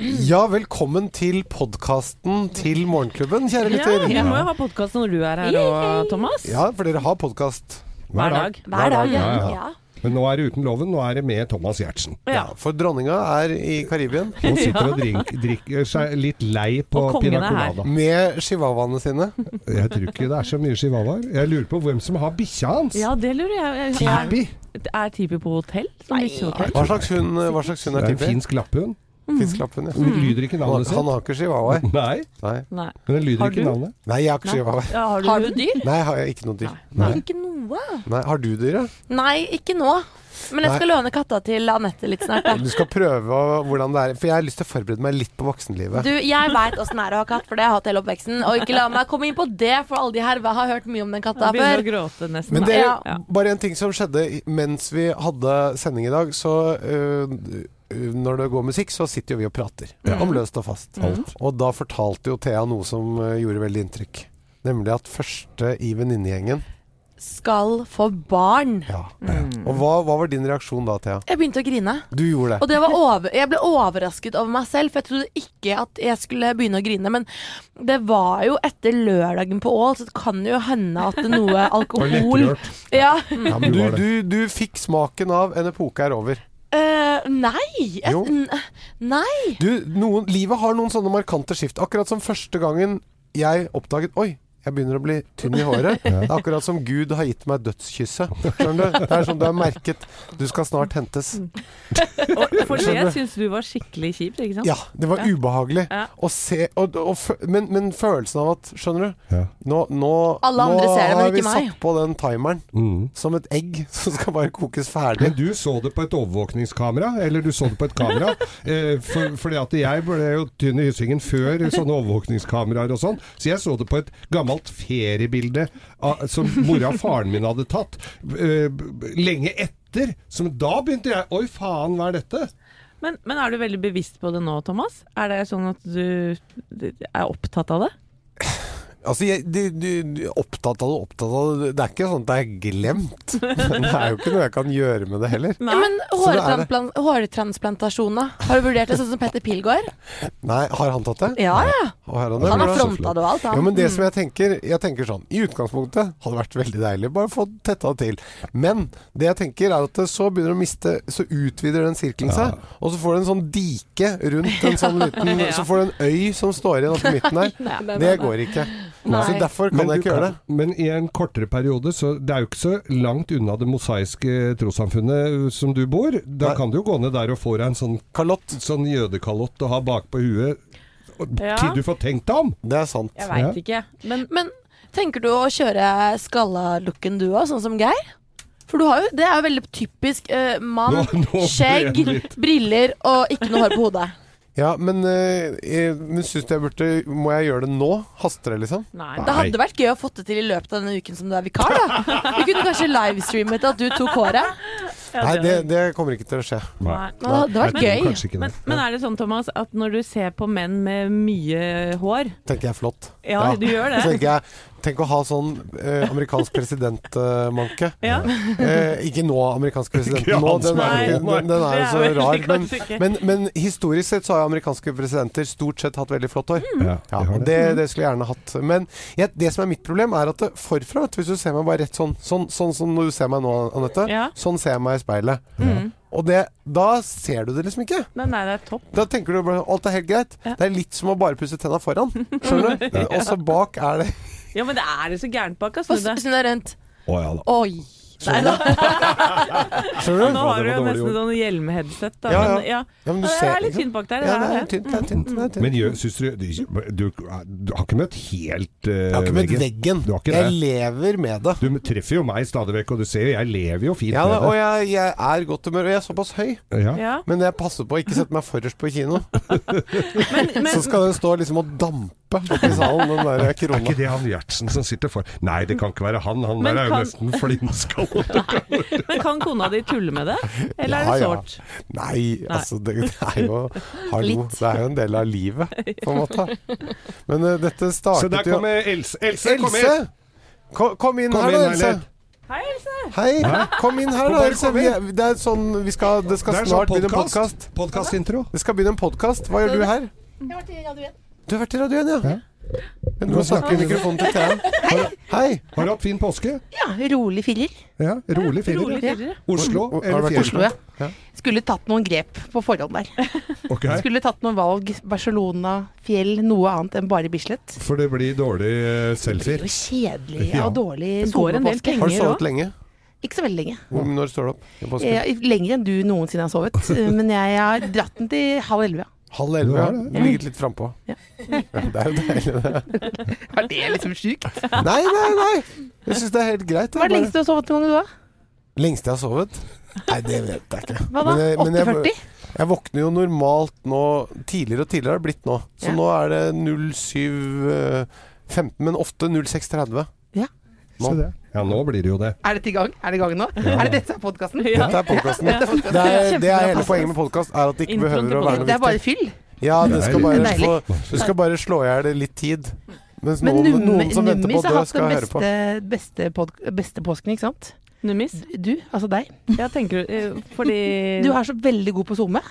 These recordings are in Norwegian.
Ja, velkommen til podkasten til Morgenklubben, kjære Ja, lytter. jeg må jo ha podkast når du er her òg, Thomas. Ja, for dere har podkast. Hver dag. Hver dag, ja. Ja, ja. ja. Men nå er det uten loven, nå er det med Thomas Giertsen. Ja. For dronninga er i Karibien Nå sitter og drink, drikker seg litt lei på Og kongen Pina er her. Colada. med chihuahuaene sine. Jeg tror ikke det er så mye chihuahuaer. Jeg lurer på hvem som har bikkja hans. Ja, det lurer jeg Er, Tipi. er Tipi på hotell? Som bikkjehotell? Hva slags hund, hva slags hund Det er er en Tippi? finsk Mm. lapphund. Finsk lapphund, ja. Den lyder ikke Mm. Han, navnet sitt. han har ikke chihuahuaer. Nei, Nei. Nei. men den Har lyder du? ikke navnet. Nei, jeg har ikke Nei. chihuahuaer. Ja, har du, Har du hund? dyr? Nei, har jeg ikke noe dyr. Nei. Ikke noe. Nei, Har du dyr, ja? Nei, ikke nå. Men jeg skal låne katta til Anette litt snart. da. Du skal prøve å- hvordan det er. For jeg har lyst til å forberede meg litt på voksenlivet. Du, jeg veit åssen det er å ha katt, for det har jeg hatt hele oppveksten. Og ikke la meg komme inn på det, for alle de her har hørt mye om den Jeg katta begynner før. å gråte nesten. Men Nei. det er Ja. bare en ting som skjedde i- mens vi hadde sending i dag. Så øh, øh, når det går musikk, så sitter jo vi og prater om løst og fast. Alt. Og da fortalte jo Thea noe som øh, gjorde veldig inntrykk. Nemlig at første i venninnegjengen Skal få barn. ja. Og hva, hva var din reaksjon da, Thea? Jeg begynte å grine. Du gjorde Og det. det var over, jeg ble overrasket over meg selv, for jeg trodde ikke at jeg skulle begynne å grine. Men det var jo etter lørdagen på Ål, så det kan jo hende at noe Og alkohol lettrørt. ja. Ja, men Du, var det. du, du fikk smaken av en epoke er over. Eh, Nei! Jeg, Jo. n- nei. Du, noen, livet har noen sånne markante skift. Akkurat som første gangen jeg oppdaget Oi, jeg begynner å bli tynn i håret. Det er akkurat som Gud har gitt meg dødskysset. Skjønner du? Det er som du har merket. Du skal snart hentes. Mm. Og for det syns du var skikkelig kjipt, ikke sant? Ja, det var ubehagelig. Ja. Å se, og, og, fø- men, men følelsen av at Skjønner du? Ja. Nå, nå, Alle andre nå ser det, men har vi ikke meg. satt på den timeren Mm. som et egg som skal bare kokes ferdig. Men du så det på et overvåkningskamera, eller du så det på et kamera. Eh, for, fordi at jeg ble jo tynn i hyssingen før sånne overvåkningskameraer og sånn. Så jeg så det på et gammelt feriebilde av, som mora og faren min hadde tatt eh, lenge etter. Som da begynte jeg Oi, faen, hva er dette? Men, men er du veldig bevisst på det nå, Thomas? Er det sånn at du er opptatt av det? Altså, jeg, du, du, du, opptatt av det, opptatt av det. Det er ikke sånn at det er glemt. Men det er jo ikke noe jeg kan gjøre med det heller. Ja, Men Så det er det. hårtransplan- hårtransplantasjon, da? Har du vurdert det sånn som Petter Pilgaard? Nei, har han tatt det? Ja, ja. Og har han det? Han har Bra. fronta det og alt, Jo, men han. det som jeg tenker Jeg tenker sånn, i utgangspunktet hadde vært veldig deilig Bare få tetta det til Men det jeg tenker er at det så begynner å miste Så utvider den sirkelen seg Og så får du en sånn dike rundt en sånn liten Ja. Så får du en øy som står igjen på midten der Nei, nei, Det nei, nei. går ikke Så Nei. derfor kan Men jeg du ikke gjøre det Men i en kortere periode, så det er jo ikke så langt unna det mosaiske trossamfunnet eh, som du bor. Da Nei. kan du jo gå ned der og få deg en sånn, Kalott, sånn jødekalott å ha bakpå huet. og- Ja. Til du får tenkt deg om! det er sant Jeg Ja. veit ikke. Men Men tenker du å kjøre skalla-looken du òg, sånn som Geir? For du har jo, det er jo veldig typisk eh, mann, Nå- nå ble jeg skjegg, litt- briller og ikke noe hår på hodet. Ja, men, eh, jeg- men synes du jeg burde Må jeg gjøre det nå? Haster det liksom? nei. Det hadde vært gøy å få det til i løpet av denne uken som du er vikar. da Vi kunne kanskje livestreamet at du tok håret. Nei, det, det kommer ikke til å skje Nei. Men det hadde vært Jeg tror gøy. Kanskje ikke Men, det. men er det sånn, Thomas, at når du ser på menn med mye hår Tenker jeg er flott Ja, Ja. Altså, du gjør Så det. tenker jeg, Tenk å ha sånn eh, amerikansk presidentmanke. Ja. Eh, ikke nå, amerikansk president. Ikke Nå, han den, som er, er jo- nå, nei. den, den er jo så Det er rar. veldig Men, godt ikke. men, men historisk sett så har jo amerikanske presidenter stort sett hatt veldig flott hår. Ja, Ja, jeg har og det. det, det skulle jeg gjerne hatt. Men jeg, det som er mitt problem, er at det forfra vet du, Hvis du ser meg bare rett sånn, sånn sånn som du ser meg nå, Anette. Ja. Sånn ser jeg meg i speilet. Mm. Og det, da ser du det liksom ikke. Nei, nei, det er topp. Da tenker du bare alt er helt greit. Ja. Det er litt som å bare pusse tenna foran. Skjønner du? Og så bak er det Ja, men det er det så gærent bak, Få altså. snu Det. deg rundt. Å, ja, da. Oi. Nei da. Skjønner du? Nå har du jo det var dårlig nesten sånn hjelmheadset, da. Ja, ja. Men, ja. Ja, men du Ja, det ser er litt tynt bak Ja, der. det det er det. er tynt. Det er tynt, det er tynt. Men gjør- syns du, du, du Du har ikke møtt helt uh, Jeg har ikke møtt veggen. Du har ikke Jeg det. lever med det. Du treffer jo meg stadig vekk, og du ser jo jeg lever jo fint Ja, da, med og det. jeg, jeg er i godt humør, og jeg er såpass høy. Ja. Ja. Men jeg passer på å ikke sette meg forrest på kino. Men, Så men, skal den stå liksom og dampe oppi salen, den der Er krona. ikke det han Gjertsen som sitter for Nei, det kan ikke være han. Han Men der er jo kan- nesten flintskalla. men kan kona di tulle med det? Eller Ja, er det ja. sårt? Nei, altså det, det er jo Hallo. Litt. Det er jo en del av livet, på en måte. Men eh, dette Så der startet jo kommer Else. Else, kom Else! hit! Ko- Kom inn Kom her, inn da, her Else. litt. Hei, Else! Hei, kom inn her, Kom da. bare Else. kom Vi, inn. er- det er sånn, vi skal, det skal Det er snart sånn begynne en podcast. podkast. Podkastintro. Det skal begynne en podkast. Hva gjør du her? Jeg har vært i Radio 1. Du har vært i radioen, ja. Ja. Men Du må snakke i mikrofonen til Thean. Hei. Har du hatt fin påske? Ja, rolig filler. Ja, rolig Rolig ferie. firere. Oslo Har du eller vært i Oslo, Fjellslo? ja. Ja. Skulle tatt noen grep på forhånd der. Ok, Skulle tatt noen valg. Barcelona, fjell, noe annet enn bare Bislett. for det blir dårlig eh, Det blir selfie. jo kjedelig Ja. og dårlig Det går en del sovepåske. Har du Penger sovet lenge? Ikke så veldig lenge. Hvor- Når står du opp? I påsken? Jeg, lenger enn du noensinne har sovet. Men jeg har dratt den til halv elleve. Halv elleve. Ja, Ja. det Du ligget litt frampå. Ja, Ja. det er jo deilig, det. Er det liksom sjukt? Nei, nei, nei! Jeg syns det er helt greit. Hva er bare- det lengste du har sovet noen gang du, da? Lengste jeg har sovet? Nei, det vet jeg ikke. Hva da? Men jeg- men jeg- 8,40? Jeg våkner jo normalt nå Tidligere og tidligere har det blitt nå. Så Ja. nå er det 07.15, men ofte 06.30. Se det. Ja, nå blir det jo det. Er dette i gang? Er det i gang nå? Er det dette som er podkasten? Ja. Dette er podkasten. Ja, dette er Det, er- det er Kjempebra hele podcast. poenget med podkast, er at det ikke Introen til behøver å være Det noe er bare viktig. fyll. Ja, det skal Deilig. bare slå, du skal bare slå i hjel litt tid. Mens Men noen, noen Nummis som venter på Nummis å har dø, hatt skal den høre på. beste, beste, pod, beste påsken, ikke sant? Nummis? Du, altså deg. Ja, tenker du eh, Fordi Du er så veldig god på SoMe.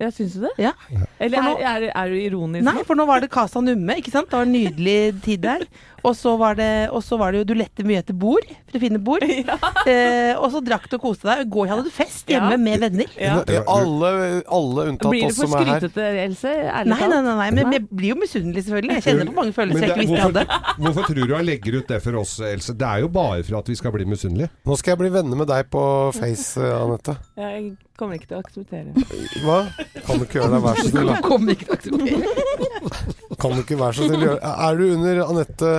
Ja, syns du det? Ja. Eller For er, er, er du ironisk? Nei, for nå var det Casa Numme, ikke sant? Det var en nydelig tid der. Og så var det, og så var det jo Du lette mye etter bord, for å finne bord. Eh, og så drakk du og koste deg. I går hadde du fest hjemme Ja. med venner. Ja. Alle, alle unntatt Blir du oss for som er her. skrytete, Else? Ærlig Nei, nei, talt. nei, nei, men jeg blir jo misunnelig, selvfølgelig. Jeg kjenner på mange følelser jeg det- ikke visste jeg hadde. hvorfor, hvorfor tror du jeg legger ut det for oss, Else? Det er jo bare for at vi skal bli misunnelige. Nå skal jeg bli venner med deg på Face, eh, Anette. Jeg kommer ikke til å akseptere Hva? Kan du ikke gjøre deg vær så snill? da? Kom ikke til å akseptere. Kan du ikke være så snill? å gjøre- Er du under Anette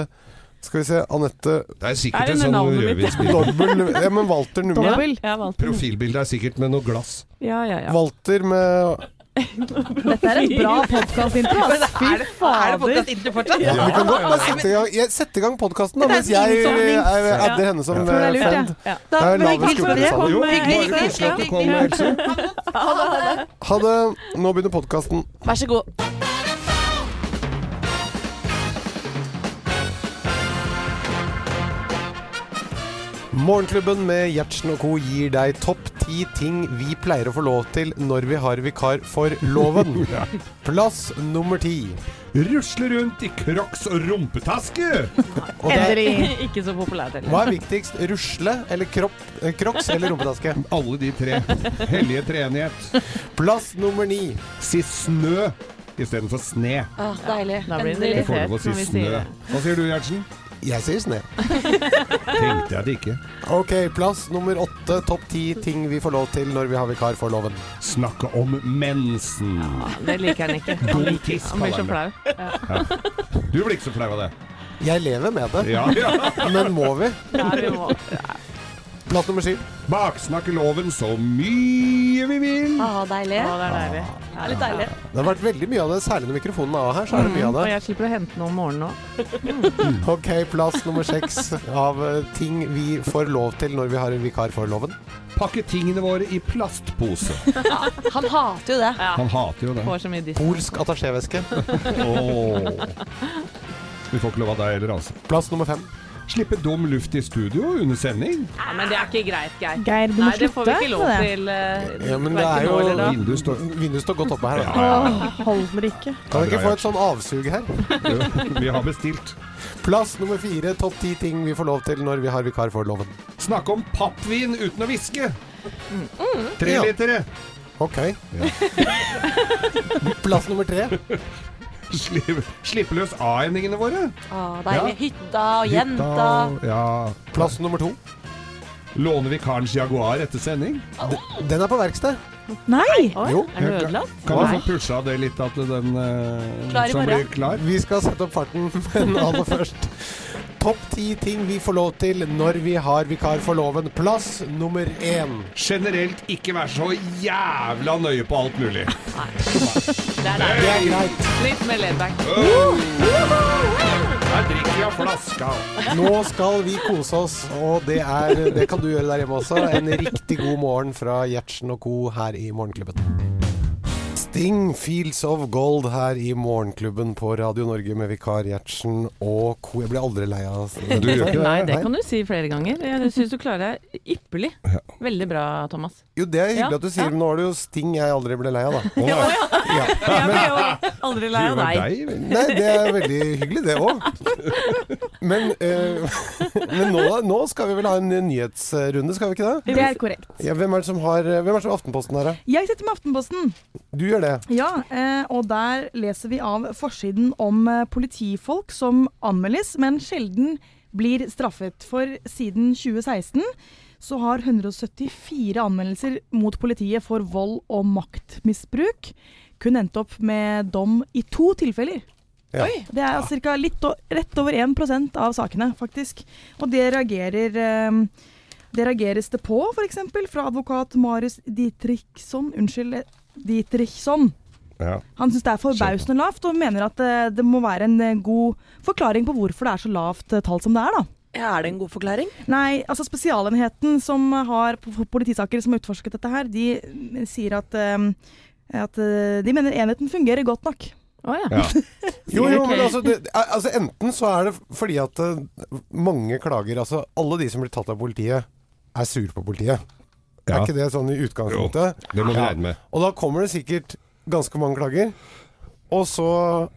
Skal vi se. Anette Det er Er sikkert det med en sånn navnet mitt? rødvinsbilde. Dobbel Ja, men Walter nummer. Dobbel? Ja, Walter. Profilbildet er sikkert med noe glass. Ja, ja, ja. Walter med Dette er en bra podkastintro. Er det, er det podcast intro fortsatt? ja, Vi kan godt bare sette i gang, jeg- sette i gang podkasten, da, Det er mens jeg innsamling. eh, er- adder henne som Det er eh, lurt, friend. jeg. Ja. Da, Det er men lavest hyggelig skulder, for det. sa du. Jo, Hyggelig, hyggelig, hyggelig, koselig at du hyggelig. kom, Else. Ha det. Nå begynner podkasten. Vær så god. Morgenklubben med Gjertsen og co. gir deg topp ti ting vi pleier å få lov til når vi har vikar for loven. Ja. Plass nummer ti. Rusle rundt i crocs og rumpetaske! Og det er, Ikke så populært heller. hva er viktigst? Rusle eller kropp, eh, crocs eller rumpetaske? Alle de tre. Hellige treenighet. Plass nummer ni. Si snø istedenfor sne. Åh, deilig. Da blir det Endelig. Jeg får lov å irritert si når vi sier snø. det. Hva sier du, Gjertsen? Jeg sier sne. Tenkte jeg det ikke. Ok, plass nummer åtte. Topp ti ting vi får lov til når vi har vikar for loven. Snakke om mensen. Det liker han ikke. God Han liker- tiss, Han blir så kaller flau. han Du blir ikke så flau av det? Jeg lever med det, Ja, ja. men må vi? Ja, vi må. Plass nummer syv. Baksnakke loven så mye vi vil. Åh, Ah, deilig. Å, det er deilig. Ja, Litt deilig. Det har vært veldig mye av det, særlig når mikrofonen er av her. så er det mye av Mm. Og det. jeg slipper å hente noe om morgenen nå. Ok, plass nummer seks av eh, ting vi får lov til når vi har en vikar for loven. Pakke tingene våre i plastpose. Han hater jo det. Han hater jo det. Får så mye diss. Polsk attachéveske. Vi får ikke lov av deg heller, altså. Plass nummer fem. Slippe dum luft i studio under sending. Ja, men det er ikke greit, Geir. Geir, du må Nei, det får vi slutte ikke lov med det. til. eh, Ja, men det hverken er nå eller da. jo Vinduet står Vinduet står godt oppe her. Ja, Da. ja, Holder ikke. Kan vi ikke få et sånn avsug her? ja. Vi har bestilt. Plass nummer fire. Topp ti ting vi får lov til når vi har vikar for loven. Snakke om pappvin uten å hviske. Ja. Trelitere. Ok. Plass nummer tre. Slipp, slippe løs a-endingene våre. Åh, Ah, deilig. Ja. Hytta og jenta. Hytta, Ja. Plass nummer to. Låne vikarens Jaguar etter sending. Den er på verksted. Nei! Oi, Jo. Er den ødelagt? Kan du Nei. få pusha det litt, at den eh, Klar i som blir morgen. klar? Vi skal sette opp farten, men aller først Topp ti ting vi får lov til når vi har vikar for loven. Plass nummer én. Generelt ikke være så jævla nøye på alt mulig. Det er deilig. Det er greit. Litt mer ledback. Her drikker vi av flaska. Nå skal vi kose oss, og det, er, det kan du gjøre der hjemme også. En riktig god morgen fra Gjertsen og co. her i Morgenklubben. Stig Sting, 'Fields of Gold', her i Morgenklubben på Radio Norge med vikar Gjertsen og co. Jeg blir aldri lei av Du gjør ikke det? Nei, det Nei. kan du si flere ganger. Jeg syns du klarer deg ypperlig. Veldig bra, Thomas. Jo, det er hyggelig Ja, at du sier det, men nå er det jo Sting jeg aldri ble lei av, da. Å, Jeg blir jo aldri lei det av var deg. deg. vel? Nei, det er veldig hyggelig, det òg. Men, eh, men nå, nå skal vi vel ha en nyhetsrunde, skal vi ikke det? Det er korrekt. Ja, hvem er det som har Hvem er det som har Aftenposten her, da? Jeg sitter med Aftenposten, Du gjør det. ja, eh, og der leser vi av forsiden om eh, politifolk som anmeldes, men sjelden blir straffet. For siden 2016 så har 174 anmeldelser mot politiet for vold og maktmisbruk kun endt opp med dom i to tilfeller. Ja. Det er altså cirka litt o- rett over 1 av sakene, faktisk. Og det reagerer eh, det reageres det på, f.eks. fra advokat Marius Dietrichson. Unnskyld, Dietrichson. Ja. Han syns det er forbausende lavt, og mener at eh, det må være en eh, god forklaring på hvorfor det er så lavt eh, tall som det er. da. Ja, er det en god forklaring? Nei, altså Spesialenheten som har p- politisaker som har utforsket dette her, de eh, sier at, eh, at eh, de mener enheten fungerer godt nok. Å ja. Ja. Jo, jo, men altså, det, altså Enten så er det fordi at eh, mange klager Altså, alle de som blir tatt av politiet, er sur på politiet. Ja. Er ikke det sånn i utgangspunktet? Det må vi regne med. Og da kommer det sikkert ganske mange klager. Og så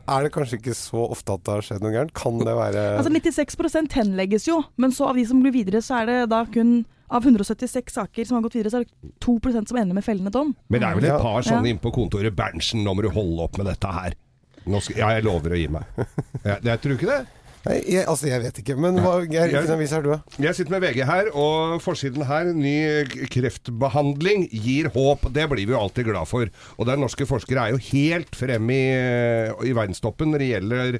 er det kanskje ikke så ofte at det har skjedd noe gærent. Kan det være Altså 96 henlegges jo, men så av de som går videre, så er det da kun av 176 saker som har gått videre, så er det 2 som ender med fellende dom. Men det er vel Ja. et par sånne inne på kontoret. Berntsen, nå må du holde opp med dette her. Nå skal, ja, jeg lover å gi meg. Jeg, jeg tror ikke det. Nei, jeg, altså, jeg vet ikke. Men hva, Geir, hvilken avis er du? da? Jeg sitter med VG her, og forsiden her, ny k- kreftbehandling gir håp. Det blir vi jo alltid glad for. Og der norske forskere er jo helt fremme i, i verdenstoppen når det gjelder,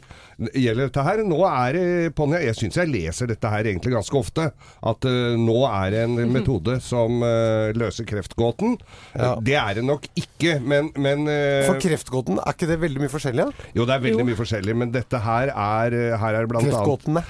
gjelder dette her. Nå er det, Ponja, jeg syns jeg leser dette her egentlig ganske ofte, at eh, nå er det en metode som eh, løser kreftgåten. Eh, Ja. Det er det nok ikke, men, men eh, For kreftgåten, er ikke det veldig mye forskjellig? da? Jo, det er veldig mye forskjellig, men dette her er, her er blant annet Kreftgåtene.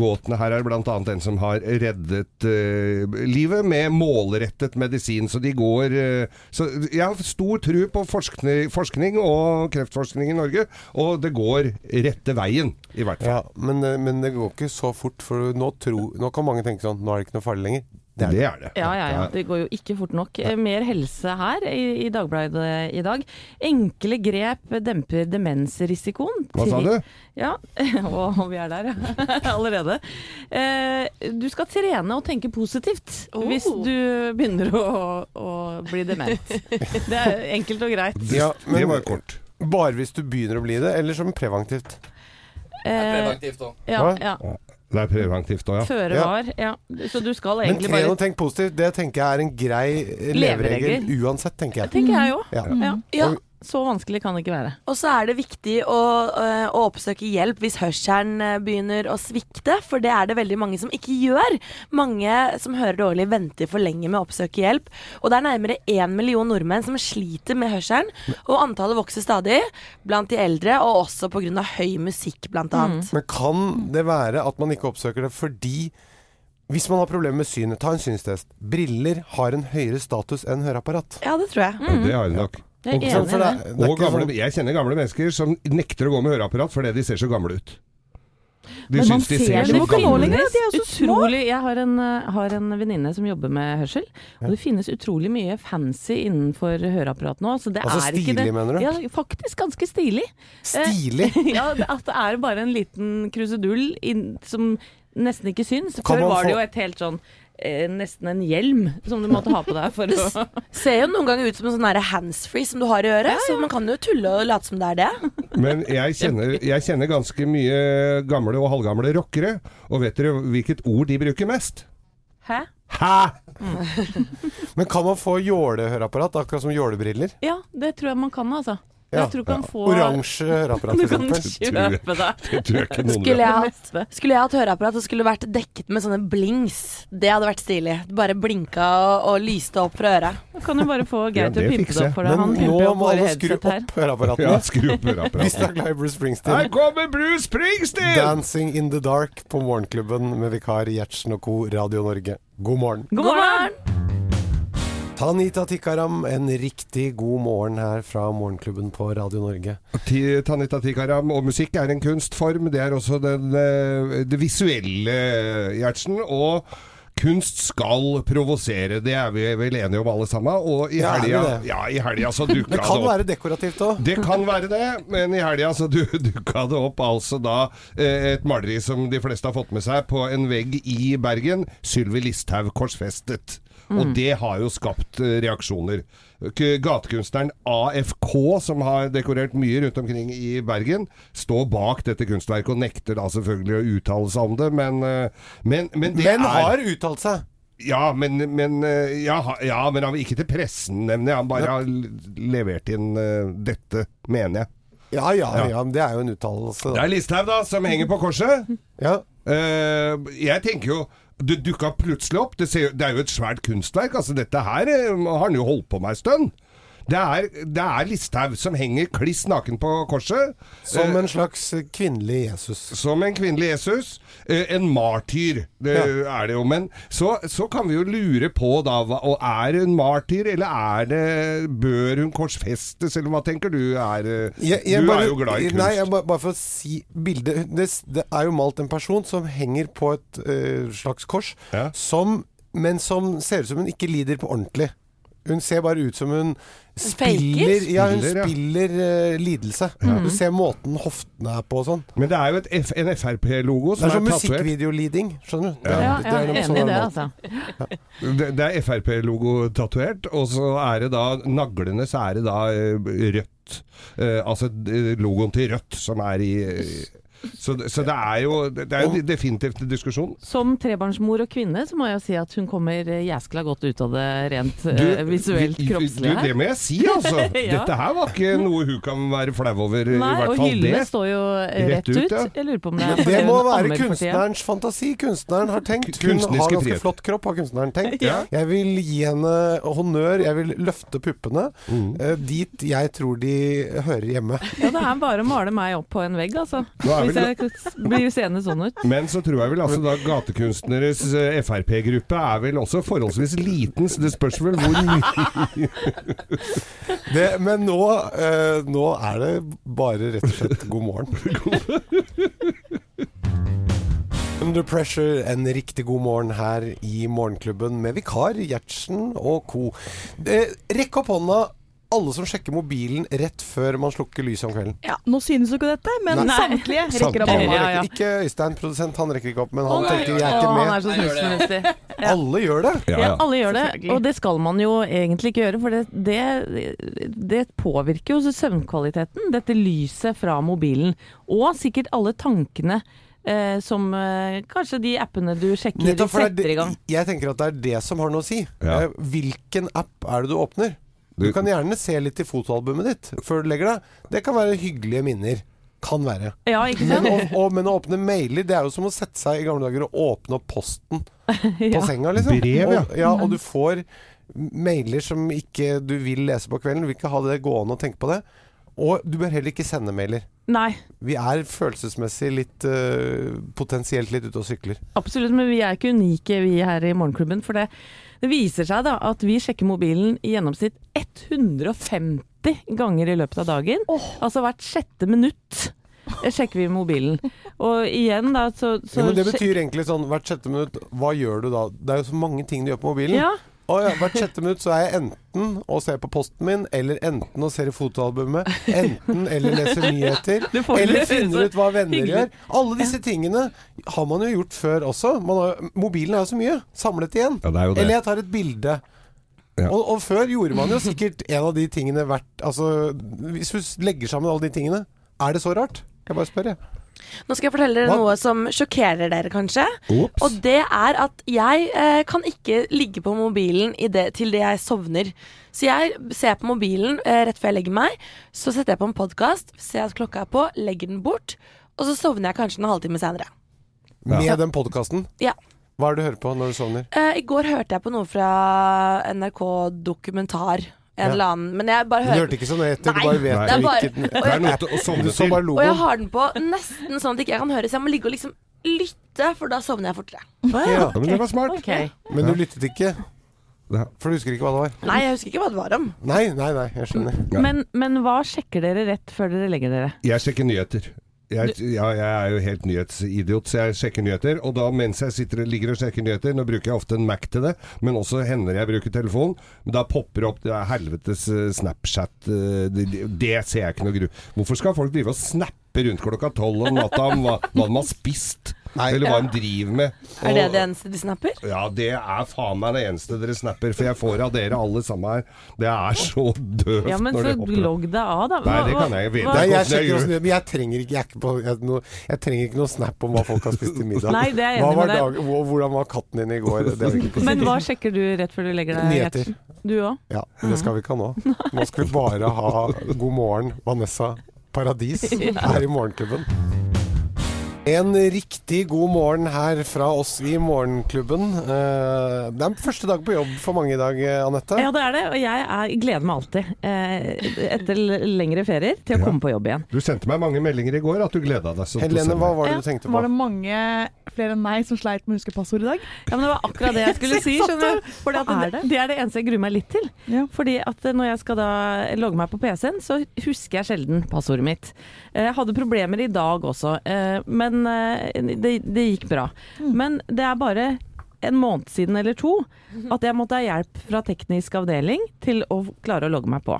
Gåtene her er blant annet en som har reddet eh, livet med målrettet medisin. Så de går eh, Så jeg har stor tro på forskning, forskning og kreftforskning i Norge, og det går rette veien, i hvert fall. Ja, men, eh, men det går ikke så fort, for nå, tro, nå kan mange tenke sånn Nå er det ikke noe farlig lenger. Det er det. det. Ja, ja, ja. Det går jo ikke fort nok. Eh, Mer helse her i, i Dagbladet i dag. Enkle grep demper demensrisikoen. Hva sa du? Ja, og vi er der ja. allerede. Eh, du skal trene og tenke positivt Oh. hvis du begynner å, å bli dement. Det er enkelt og greit. Ja, det men- var jo kort. Bare hvis du begynner å bli det, eller som preventivt. Eh, ja, ja. Det er preventivt òg, ja. Føre Ja. var. Ja. Så du skal Men egentlig tren bare og tenk positivt, det tenker jeg er en grei leveregel Leveregel. uansett, tenker jeg. Tenker jeg òg. Ja. Ja. Ja, Så vanskelig kan det ikke være. Og så er det viktig å, eh, å oppsøke hjelp hvis hørselen eh, begynner å svikte, for det er det veldig mange som ikke gjør. Mange som hører dårlig, venter for lenge med å oppsøke hjelp. Og det er nærmere én million nordmenn som sliter med hørselen, og antallet vokser stadig blant de eldre, og også pga. høy Mm. musikk, blant annet. Men kan det være at man ikke oppsøker det fordi hvis man har problemer med synet, ta en synstest. Briller har en høyere status enn høreapparat. Ja, det tror jeg. Det har hun nok. Mm. Jeg Ikke er sant? enig For i det er- det. det er Og ikke gamle, sånn- jeg kjenner gamle mennesker som nekter å gå med høreapparat fordi de ser så gamle ut. De Men man syns de ser ser så det ikke nå gamle ut. lenger. de er jo så små. utrolig, jeg har en, eh, har en venninne som jobber med hørsel, og det finnes utrolig mye fancy innenfor høreapparat nå. Så det Altså er ikke det. stilig, mener du? Ja, faktisk ganske stilig. Eh. Stilig! ja, det- at det er bare en liten krusedull inn, som nesten ikke syns. Kan Før man var det få- jo et helt sånn eh, nesten en hjelm som du måtte ha på deg for å Ser jo noen ganger ut som en sånn derre handsfree som du har i øret, så man kan jo tulle og late som det er det. Men jeg kjenner, jeg kjenner ganske mye gamle og halvgamle rockere, og vet dere hvilket ord de bruker mest? Hæ? Hæ? Men kan man få jålehøreapparat, akkurat som jålebriller? Ja, det tror jeg man kan, altså. Ja. Jeg tror du kan få Oransje høreapparat, Du for kan eksempel. kjøpe deg Det tror jeg ikke noen vet. Skulle jeg hatt neste. Skulle jeg hatt høreapparat, så skulle det vært dekket med sånne blings. Det hadde vært stilig. Bare blinka og, og lyste opp fra øret. Du kan jo bare få Geir Ja, til å det pimpe det fikser jeg. opp for deg. Han Men nå pimper jo opp må våre alle skru headset her. opp høreapparatene. Ja, skru opp Hvis det er høreapparatet. glad i Bruce Springsteen. Her kommer Bruce Springsteen! 'Dancing in the Dark' på Morgenklubben med vikar Gjertsen og co. Radio Norge. God morgen. God morgen! Hanita Tikaram, en riktig god morgen her fra Morgenklubben på Radio Norge. Ti- Tanita Tikaram, og musikk er en kunstform. Det er også den, eh, det visuelle, Gjertsen. Og kunst skal provosere. Det er vi vel enige om alle sammen. Og i Ja, er vi helga, det? ja, i helga så dukka Det det kan opp være dekorativt òg. det kan være det, men i helga så du, dukka det opp altså da eh, et maleri som de fleste har fått med seg, på en vegg i Bergen. Sylvi Listhaug korsfestet. Mm. Og det har jo skapt eh, reaksjoner. K- Gatekunstneren AFK, som har dekorert mye rundt omkring i Bergen, står bak dette kunstverket og nekter da selvfølgelig å uttale seg om det, men, eh, men, men det Men er har uttalt seg. ja, men, men, eh, ja, ha- ja, men han- ikke til pressen, nevner jeg. Han bare har l- levert inn eh, dette, mener jeg. Ja, ja, Ja. ja. Men det er jo en uttalelse. Det da. er Listhaug, da, som henger på korset. Ja. Eh, jeg tenker jo det dukka plutselig opp. Det, ser, det er jo et svært kunstverk. Altså, dette her eh, har han jo holdt på med en stund. Det er, det er Listhaug som henger kliss naken på korset. Som Eh, en slags kvinnelig Jesus. Som en kvinnelig Jesus. eh, En martyr, det er det jo. Men så, så kan vi jo lure på da hva- og Er hun martyr, eller er det Bør hun korsfestes, eller hva tenker du er eh, Jeg- jeg Du bare- er jo glad i kunst. Nei, jeg, bare, bare for å si bildet det, det er jo malt en person som henger på et eh, slags kors, Ja. som, men som ser ut som hun ikke lider på ordentlig. Hun ser bare ut som hun spiller faker? Ja, hun Spiller, ja. spiller eh, lidelse. Du ser måten hoftene er på og sånn. Men det er jo et F, en Frp-logo Det som er sånn er tatovert. musikkvideoliding, skjønner du. Ja, Det er- det er jeg er noe enig i sånn det, måte. altså. Det, det er Frp-logo tatovert, og så er det da naglene, så er det da eh, rødt. Eh, altså eh, logoen til Rødt som er i eh, så, det- så det er jo Det er jo definitivt en diskusjon. Som trebarnsmor og kvinne så må jeg jo si at hun kommer eh, jæskla godt ut av det rent Du, eh, visuelt vi- vi- kroppslige Du, her. det må jeg si, altså. Ja. Dette her var ikke noe hun kan være flau over, Nei, i hvert og fall hyllene det. står jo eh, Rett rett ut, ut. ja. Jeg lurer på om det er fordi Det må hun være ammer for tiden. kunstnerens fantasi. Kunstneren har tenkt. K- Hun kunstneriske har ganske frihet. flott kropp, har kunstneren tenkt. Ja. Jeg vil gi henne honnør, jeg vil løfte puppene Mm. eh, dit jeg tror de hører hjemme. Ja, det er bare å male meg opp på en vegg, altså. Nå er Hvis vel- jeg k- blir seende sånn ut. Men så tror jeg vel altså da gatekunstneres eh, Frp-gruppe er vel også forholdsvis liten, så det spørs vel hvor mye Det, men nå, eh, nå er det bare rett og slett god morgen. Under pressure, en riktig god morgen her i Morgenklubben med vikar Gjertsen og co. Eh, Rekk opp hånda, alle som sjekker mobilen rett før man slukker lyset om kvelden. Ja, nå synes jo ikke dette, men Nei. samtlige rekker opp Alle hånda. Ja, ja. rekker- Ikke Øystein, produsent, han rekker ikke opp, men han Å, nei. tenker jeg er Å, ikke han er med. så snusfornuftig. ja. Alle gjør det. Ja, alle gjør det, Selvfølgelig. og det skal man jo egentlig ikke gjøre, for det, det, det påvirker jo søvnkvaliteten, dette lyset fra mobilen. Og sikkert alle tankene eh, som eh, kanskje de appene du sjekker, Nettopp, for det setter er i gang. det- Jeg tenker at det er det som har noe å si. Ja. Eh, Hvilken app er det du åpner? Du Du- kan gjerne se litt i fotoalbumet ditt før du legger deg. Det kan være hyggelige minner. Kan være. Ja, ikke Men sant? å, å, men å åpne mailer, det er jo som å sette seg i gamle dager og åpne opp posten på Ja. Mm. senga, liksom. Brev, ja. Og, ja, og du får mailer som ikke du vil lese på kvelden. Du vil ikke ha det gående og tenke på det. Og du bør heller ikke sende mailer. Nei, Vi er følelsesmessig litt eh, Potensielt litt ute og sykler. absolutt, men vi er ikke unike vi her i Morgenklubben, for det, det viser seg da at vi sjekker mobilen i gjennomsnitt 150 ganger i løpet av dagen. Altså hvert sjette minutt eh, sjekker vi mobilen. Og igjen da, så... så ja, men det sjek- betyr egentlig sånn hvert sjette minutt Hva gjør du da? Det er jo så mange ting du gjør på mobilen. Ja, Å ja, hvert sjette minutt så er jeg enten og ser på posten min, eller enten og ser i fotoalbumet, enten eller leser nyheter, Du får eller det, finner så ut hva venner hyggelig. gjør. Alle disse tingene har man jo gjort før også. Man har, mobilen er jo så mye samlet igjen. Ja, det er jo det. Eller jeg tar et bilde. Ja. Og, og før gjorde man jo sikkert en av de tingene hvert Altså, hvis du legger sammen alle de tingene, er det så rart? Jeg bare spør, jeg. Nå skal jeg fortelle dere Hva? noe som sjokkerer dere, kanskje. Ops. Sånn Og det er at jeg eh, kan ikke ligge på mobilen i det, til det jeg sovner. Så jeg ser på mobilen eh, rett før jeg legger meg. Så setter jeg på en podkast, ser at klokka er på, legger den bort. Og så sovner jeg kanskje en halvtime senere. Ja. Med den podkasten. Ja. Hva er det du hører på når du sovner? Eh, I går hørte jeg på noe fra NRK Dokumentar. En Ja. eller annen. Men jeg bare Du hører hørte ikke så nøye etter, du Nei, bare vet Nei. jo det er bare- hvilken Det er noe til å Du sovne så til. bare Og jeg logoen. har den på nesten sånn at ikke jeg kan høre, så jeg må ligge og liksom lytte, for da sovner jeg fortere. Ja, Ja, men det var smart. ok. men du lyttet ikke. Ja. For du husker ikke hva det var? Nei, jeg husker ikke hva det var om. Nei, nei, nei, jeg skjønner. Men, men hva sjekker dere rett før dere legger dere? Jeg sjekker nyheter. Jeg, ja, jeg er jo helt nyhetsidiot, så jeg sjekker nyheter. Og da mens jeg sitter og ligger og sjekker nyheter, nå bruker jeg ofte en Mac til det, men også hender jeg bruker telefon, men da popper det opp det er helvetes eh, Snapchat eh, det, det ser jeg ikke noe gru. Hvorfor skal folk drive og snappe rundt klokka tolv om natta om hva, hva de har spist? Nei. Eller hva de driver med? Er det Og- det eneste de snapper? ja, det er faen meg det eneste dere snapper, for jeg får av dere alle sammen her. Det er så døvt Ja, men når så det hopper opp. logg deg av, da. Nei, det kan jeg ikke vite. hva- Nei, jeg hvordan jeg sjekker gjør. også, men jeg trenger ikke jeg, er ikke på, jeg, no, jeg trenger ikke noe snap om hva folk har spist til middag. Nei, det er jeg Hva enig var med deg. dag- hvor- hvordan var katten din i går? Det er vi ikke på Men hva sjekker du rett før du legger deg? Nyheter. Gjertsen? Du òg? Ja, det skal vi ikke ha nå. Nå skal vi bare ha God morgen, Vanessa Paradis her i Morgenklubben. En riktig god morgen her fra oss i Morgenklubben. Eh, Det er første dag på jobb for mange i dag, eh, Anette. Ja, det er det. Og jeg er, gleder meg alltid, eh, etter l- lengre ferier, til å Ja. komme på jobb igjen. Du sendte meg mange meldinger i går at du gleda deg. sånn til å Helene, sende. hva var det Ja. du tenkte Var på? det mange flere enn meg som sleit med å huske passord i dag? Ja, men Det var akkurat det jeg skulle si. skjønner du? Fordi at Hva er det, det? det er det eneste jeg gruer meg litt til. Ja. Fordi at eh, når jeg skal da logge meg på PC-en, så husker jeg sjelden passordet mitt. Eh, Jeg hadde problemer i dag også, eh, men eh, det, det gikk bra. Men det er bare en måned siden eller to at jeg måtte ha hjelp fra teknisk avdeling til å klare å logge meg på.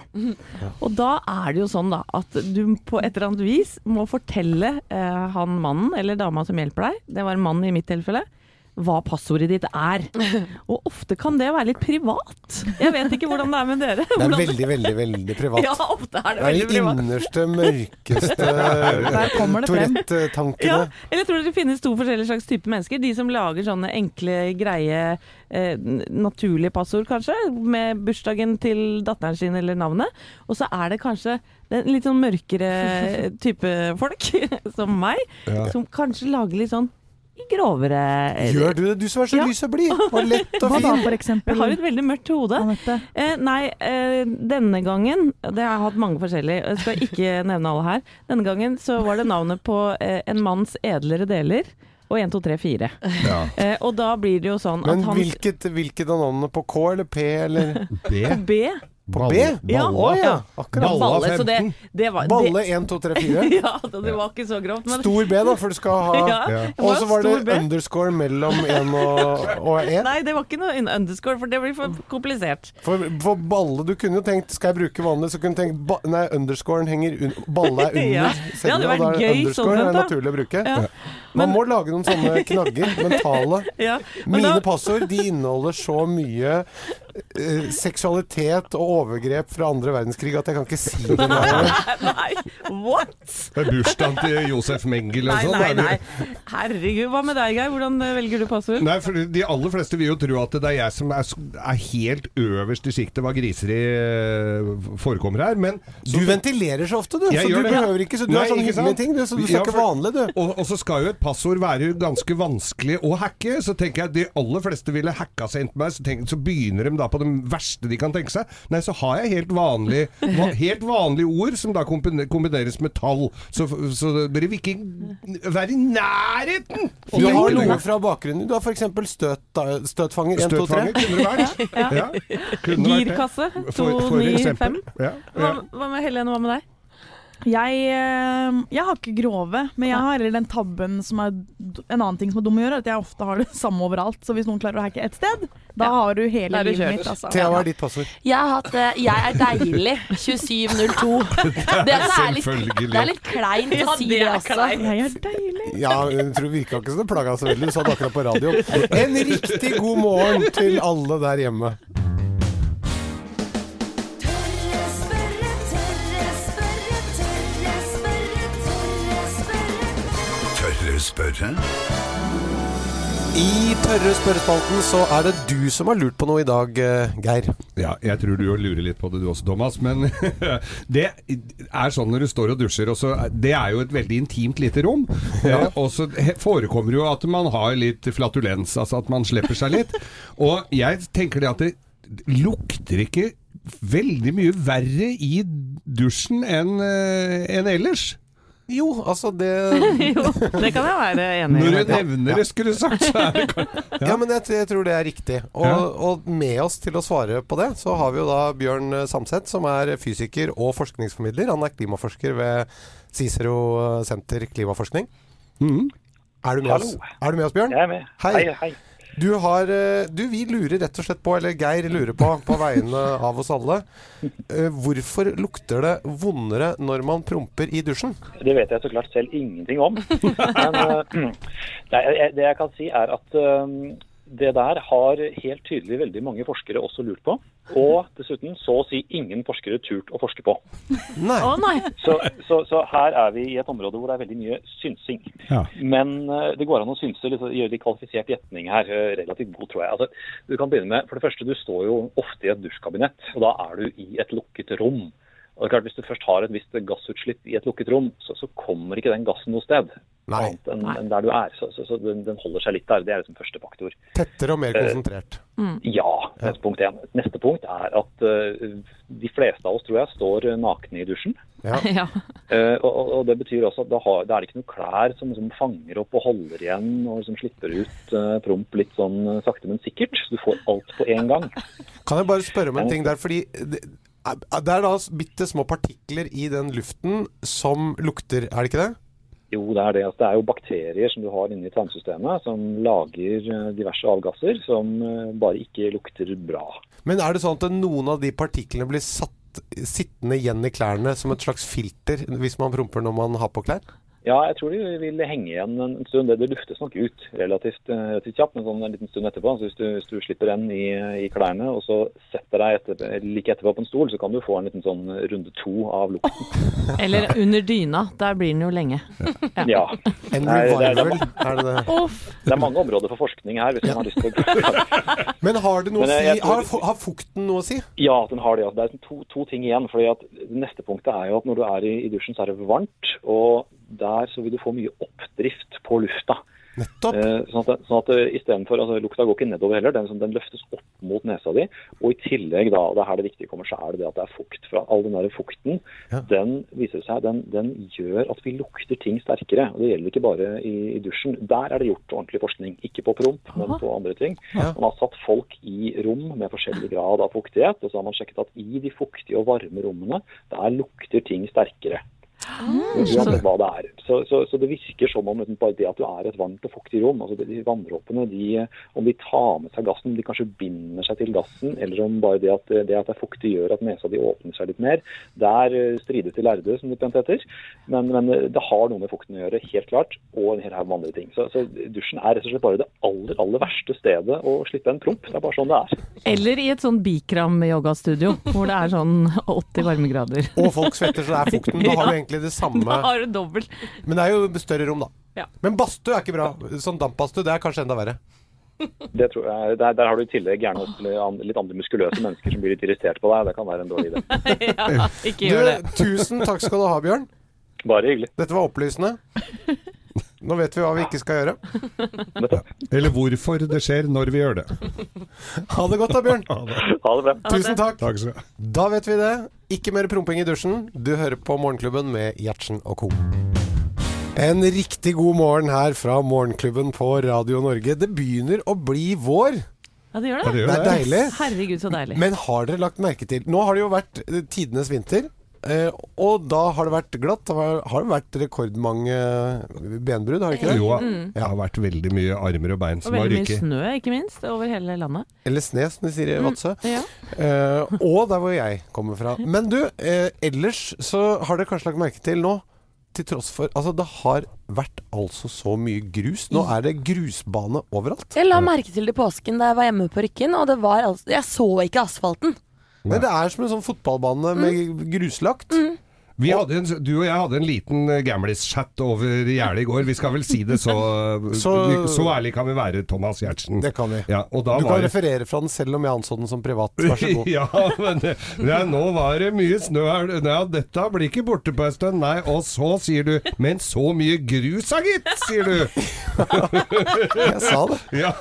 Og da er det jo sånn da at du på et eller annet vis må fortelle eh, han mannen eller dama som hjelper deg, det var en mann i mitt tilfelle, hva passordet ditt er. Og ofte kan det være litt privat. Jeg vet ikke hvordan det er med dere. Det er Hvordan- veldig, veldig, veldig privat. Ja, ofte er det Det veldig er de privat. innerste, mørkeste Der kommer det frem. Tourette-tankene. Ja, eller jeg tror det finnes to forskjellige slags type mennesker. De som lager sånne enkle, greie, eh, n- naturlige passord, kanskje, med bursdagen til datteren sin eller navnet. Og så er det kanskje den litt sånn mørkere type folk, som meg, Ja. som kanskje lager litt sånn grovere Gjør du det, du som er så Ja. lys og blid og lett og fin? Hva da, for Jeg har eksempel? et veldig mørkt hode. Anette? Eh, nei, eh, denne gangen Det har jeg hatt mange forskjellige, jeg skal ikke nevne alle her. Denne gangen så var det navnet på eh, en manns edlere deler. Og 1, 2, 3, 4. Ja. Eh, og da blir det jo sånn Men at han hvilket, hvilket av navnene på K eller P eller B? B På B? Ja, Å ja, ja, akkurat. Balle Balle. Så det, 15. det var det, Balle 1, 2, 3, 4. Ja, det var ikke så grovt, men Stor B, da, for du skal ha ja, Ja. jeg Og så ha var det stor B. underscore mellom 1 og, og 1. Nei, det var ikke noe underscore, for det blir for komplisert. For, for balle Du kunne jo tenkt Skal jeg bruke vanlig, så kunne du tenkt ba, Nei, underscoren henger un, Balle er under Ja. Det hadde selve, og da vært er det gøy, underscore sånn er sett, da. naturlig å bruke. Ja. Man må lage noen sånne knagger, mentale. Ja, men Mine da- passord de inneholder så mye eh, seksualitet og overgrep fra andre verdenskrig at jeg kan ikke si det. nå. Nei, what?! Det er bursdagen til Josef Mengel og Nei, sånn. nei, er det- nei. Herregud, hva med deg, Geir? Hvordan eh, velger du passord? Nei, for De aller fleste vil jo tro at det er jeg som er, s- er helt øverst i siktet hva griseri eh, forekommer her, men Du ventilerer så ofte, du. Jeg Så du gjør det. behøver ikke, så du Nei, er sånn ikke hyggelig sant? med ting. Du, så du Ja, snakker for- vanlig, du. Og, og så skal jo et passord være ganske vanskelig å hacke, så tenker jeg at de aller fleste ville hacka seg inn på meg, så, tenk, så begynner de da på det verste de kan tenke seg. Nei, så har jeg helt vanlige va- helt vanlige ord som da kombine- kombineres med tall. Så, så dere vil ikke være i nærheten! Og Du det- har noe fra bakgrunnen. Du har f.eks. Støt, støtfanger 1, 2, 3. Støtfanger kunne det vært. Ja. Ja. Kunne det vært det. Girkasse For- for eksempel. 295. Ja, Hva, ja. hva med Helene, hva med deg? Jeg, eh, jeg har ikke grove, men jeg har eller den tabben som er d- en annen ting som er dum å gjøre, er at jeg ofte har det samme overalt. Så hvis noen klarer å hacke ett sted, da har du Da hele er du livet kjørt. mitt. Altså. Thea, hva er ditt passord? Jeg har hatt eh, 'Jeg er deilig' 2702. Det er litt, Selvfølgelig. det er litt kleint å Ja, si det det er også. kleint. Jeg er deilig. Ja, jeg tror det virka ikke som det plaga så veldig. Du sa det akkurat på radio. En riktig god morgen til alle der hjemme. Tørre spørre, tørre spørre, tørre spørre, tørre spørre. Tørre spørre? I tørre spørrespalten så er det du som har lurt på noe i dag, eh, Geir. Ja, jeg tror du jo lurer litt på det du også, Thomas. Men det er sånn når du står og dusjer og så- Det er jo et veldig intimt lite rom. Eh, Og så he- forekommer det jo at man har litt flatulens, altså at man slipper seg litt. Og jeg tenker det at det lukter ikke veldig mye verre i dusjen enn eh, enn ellers. Jo, altså det Jo, det kan jeg være enig Når i. du nevner det, skulle du sagt, så er det kanskje Ja, men jeg, jeg tror det er riktig. Og, Ja. og med oss til å svare på det, så har vi jo da Bjørn eh, Samset, som er fysiker og forskningsformidler. Han er klimaforsker ved Cicero senter klimaforskning. mm. Er du med, oss? Er du med oss, Bjørn? Jeg er med. Hei. Hei, hei. Du har eh, Du, vi lurer rett og slett på, eller Geir lurer på, på vegne av oss alle, eh, hvorfor lukter det vondere når man promper i dusjen? Det vet jeg så klart selv ingenting om. Men eh, nei, jeg- det jeg kan si er at eh, det der har helt tydelig veldig mange forskere også lurt på. Og dessuten så å si ingen forskere turt å forske på. Nei. Å nei! Så, så, så her er vi i et område hvor det er veldig mye synsing. Ja. Men eh, det går an å synse litt, og gjøre litt kvalifisert gjetning her. eh, Relativt god, tror jeg. Altså, du kan begynne med, for det første, du står jo ofte i et dusjkabinett, og da er du i et lukket rom. Og det er klart, Hvis du først har et visst gassutslipp i et lukket rom, så, så kommer ikke den gassen noe sted Nei. annet enn enn der du er. Så, så, så den, den holder seg litt der. Det er liksom første faktor. Tettere og mer Eh, konsentrert. Ja, det er punkt én. Neste punkt er at eh, de fleste av oss tror jeg står eh, nakne i dusjen. Ja. Ja. Eh, og, og- og Det betyr også at da, har, da er det ikke noen klær som liksom fanger opp og holder igjen og liksom slipper ut eh, promp litt sånn eh, sakte, men sikkert. Så Du får alt på én gang. Kan jeg bare spørre om en ting der, fordi det, det er da bitte små partikler i den luften som lukter, er det ikke det? Jo, det er det. Altså, det er jo bakterier som du har inni tarmsystemet som lager eh, diverse avgasser som eh, bare ikke lukter bra. Men er det sånn at noen av de partiklene blir satt sittende igjen i klærne som et slags filter hvis man promper når man har på klær? Ja, jeg tror de vil henge igjen en en stund. Det, det luftes nok ut relativt, eh, relativt kjapt, men sånn en liten stund etterpå. Så hvis du, hvis du slipper den i, i klærne og så setter deg etter, like etterpå på en stol, så kan du få en liten sånn runde to av lukten. Eller under dyna. Der blir den jo lenge. Ja. En Nei, det er- revival, er det det? Det er mange områder for forskning her, hvis man har lyst til å Men har det noe å Men jeg- jeg si? Har, tror- fu- har fukten noe å si? Ja, at den har det. altså. Det er liksom to, to ting igjen. fordi at det Neste punktet er jo at når du er i, i dusjen, så er det varmt. Og der så vil du få mye oppdrift på lufta. Nettopp. Eh, Sånn at, det- sånn at det istedenfor altså, Lukta går ikke nedover heller, den, som- den løftes opp mot nesa di. Og i tillegg, da, og det er her det viktige kommer, så er det det at det er fukt. fra All den der fukten Ja. den viser det seg, den, den gjør at vi lukter ting sterkere. og Det gjelder ikke bare i, i dusjen. Der er det gjort ordentlig forskning. Ikke på promp, men på andre ting. Ja. Man har satt folk i rom med forskjellig grad av fuktighet, og så har man sjekket at i de fuktige og varme rommene, der lukter ting sterkere. Uansett hva det er. Så, så, så det virker som om liksom, bare det at du er i et varmt og fuktig rom, altså de- de vanndråpene, de, eh, om de tar med seg gassen, om de kanskje binder seg til gassen, eller om bare det at eh, det, at det er fuktig gjør at nesa di åpner seg litt mer, der eh, strides de lærde, som det pent heter. Men, men eh, det har noe med fukten å gjøre, helt klart, og en hel haug med andre ting. Så, så dusjen er rett og slett bare det aller, aller verste stedet å slippe en promp. Det er bare sånn det er. Eller i et sånn bikram-yogastudio, hvor det er sånn 80 varmegrader. Og folk svetter, så det er fukten. Da har du egentlig det samme. Da har du dobbelt. Men det er jo større rom, da. Ja. Men badstue er ikke bra. Sånn dampbadstue, det er kanskje enda verre. Det tror jeg, der, der har du i tillegg gjerne også litt andre muskuløse mennesker som blir litt irritert på deg. Det kan være en dårlig idé. Ja, ikke Du, gjør det. tusen takk skal du ha, Bjørn. Bare hyggelig. Dette var opplysende. Nå vet vi hva vi ikke skal gjøre. Eller hvorfor det skjer når vi gjør det. Ha det godt da, Bjørn. Ha det bra. Tusen takk. Takk skal du ha. Da vet vi det. Ikke mer promping i dusjen. Du hører på Morgenklubben med Gjertsen og co. En riktig god morgen her fra Morgenklubben på Radio Norge. Det begynner å bli vår. Ja, det gjør Ja, det. det Det er gjør det. deilig. Herregud, så deilig. Men har dere lagt merke til Nå har det jo vært eh, tidenes vinter. eh, Og da har det vært glatt. Da har har det vært rekordmange benbrudd, har det ikke det? Jo, det har vært veldig mye armer og bein Mm. Og som har veldig mye ryket. snø, ikke minst, over hele landet. Eller sne, som de sier i Vadsø. Ja. Eh, og der hvor jeg kommer fra. Men du, eh, ellers så har dere kanskje lagt merke til nå til tross for, altså Det har vært altså så mye grus. Nå er det grusbane overalt. Jeg la merke til det i påsken da jeg var hjemme på Rykken, og det var altså, jeg så ikke asfalten. Men Det er som en sånn fotballbane med gruslagt. Vi hadde en, du og jeg hadde en liten eh, gamlis-chat over gjerdet i går. Vi skal vel si det så Så, Så- ærlig kan vi være, Thomas Giertsen. Det kan vi. Ja, og da Du var kan det- referere fra den selv om jeg anså den som privat. Vær så god. ja, men det- ja, nå var det mye snø her. Ja, dette blir ikke borte på en stund. Nei, og så sier du 'men så mye grus, da, gitt', sier du. Jeg sa det. Ja,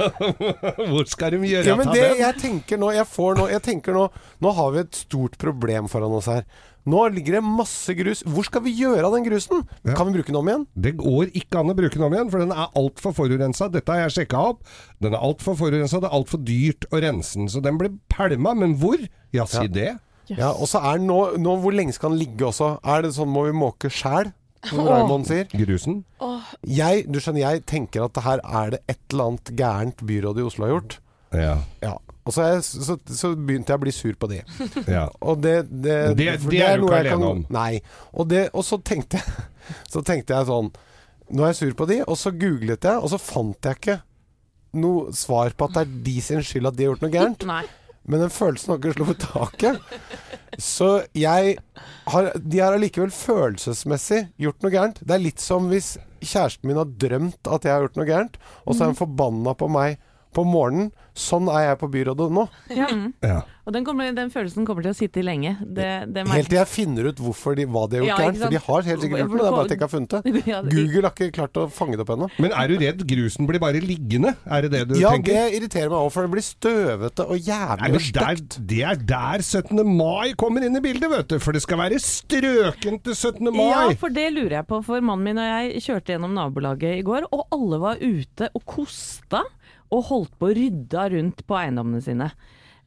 hvor skal de gjøre Ja, men av det den? jeg tenker nå, jeg får nå, jeg tenker nå Nå har vi et stort problem foran oss her. Nå ligger det masse grus. Hvor skal vi gjøre av den grusen? Ja. Kan vi bruke den om igjen? Det går ikke an å bruke den om igjen, for den er altfor forurensa. Dette har jeg sjekka opp. Den er altfor forurensa, det er altfor dyrt å rense den. Så den blir pælma. Men hvor? Ja, si Ja. det. Ja, og så er den nå, nå Hvor lenge skal den ligge også? Er det sånn må vi måke sjæl? Som Raymond sier. Grusen. Jeg, du skjønner, jeg tenker at det her er det et eller annet gærent byrådet i Oslo har gjort. Ja. Ja. Og så, er jeg, så, så begynte jeg å bli sur på det. ja. Og det, det, Det- for det er du noe ikke jeg kan- alene om. Nei. Og, det, og så, tenkte jeg, så tenkte jeg sånn Nå er jeg sur på de, og så googlet jeg, og så fant jeg ikke noe svar på at det er de sin skyld at de har gjort noe gærent. Nei. Men den følelsen har ikke sluppet taket. Så jeg har, De har allikevel følelsesmessig gjort noe gærent. Det er litt som hvis kjæresten min har drømt at jeg har gjort noe gærent, og så er hun forbanna på meg på morgenen. Sånn er jeg på byrådet nå. ja. Og den, kommer, den følelsen kommer til å sitte i lenge. Det, det merker- Helt til jeg finner ut hvorfor de, hva de har gjort Ja, ikke gærent. For de sant? har helt sikkert gjort noe, det er bare at jeg ikke har funnet det. Ja, det- Google har ikke klart å fange det opp ennå. Men er du redd grusen blir bare liggende? Er det det du Ja, tenker? det irriterer meg òg, for det blir støvete og Nei, jævlig men og der, stygt. det er der 17. mai kommer inn i bildet, vet du. For det skal være strøken til 17. mai. Ja, for det lurer jeg på. For mannen min og jeg kjørte gjennom nabolaget i går, og alle var ute og kosta og holdt på å rydda rundt på eiendommene sine.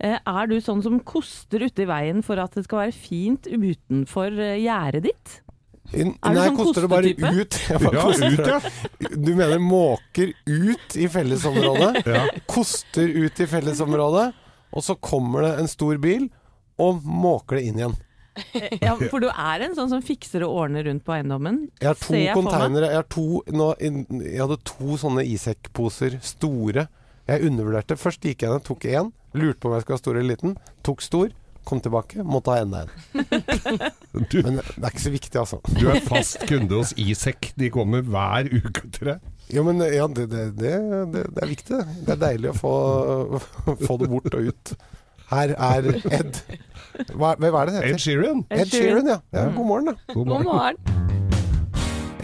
Eh, Er du sånn som koster ute i veien for at det skal være fint utenfor eh, gjerdet ditt? du Nei, sånn koster det bare ut. kostetype? Jeg bare Ja, koster ut, ja. Du mener måker ut i fellesområdet, koster ut i fellesområdet, og så kommer det en stor bil og måker det inn igjen. Ja, For du er en sånn som fikser og ordner rundt på eiendommen. Jeg har to Ser jeg for meg? containere jeg, har to, nå, jeg hadde to sånne Isek-poser, store. Jeg undervurderte. Først gikk jeg ned, tok én. Lurte på om jeg skulle ha stor eller liten. Tok stor. Kom tilbake, måtte ha enda en. Du, Men det er ikke så viktig, altså. du er fast kunde hos Isek. De kommer hver uke til deg. Jo, men ja, det, det, det, det, det er viktig, det. Det er deilig å få, få det bort og ut. Her er Ed Hva, hva er det det Ed heter? Sheeran. Ed Sheeran, ja. ja. Mm. God morgen, da. God God morgen.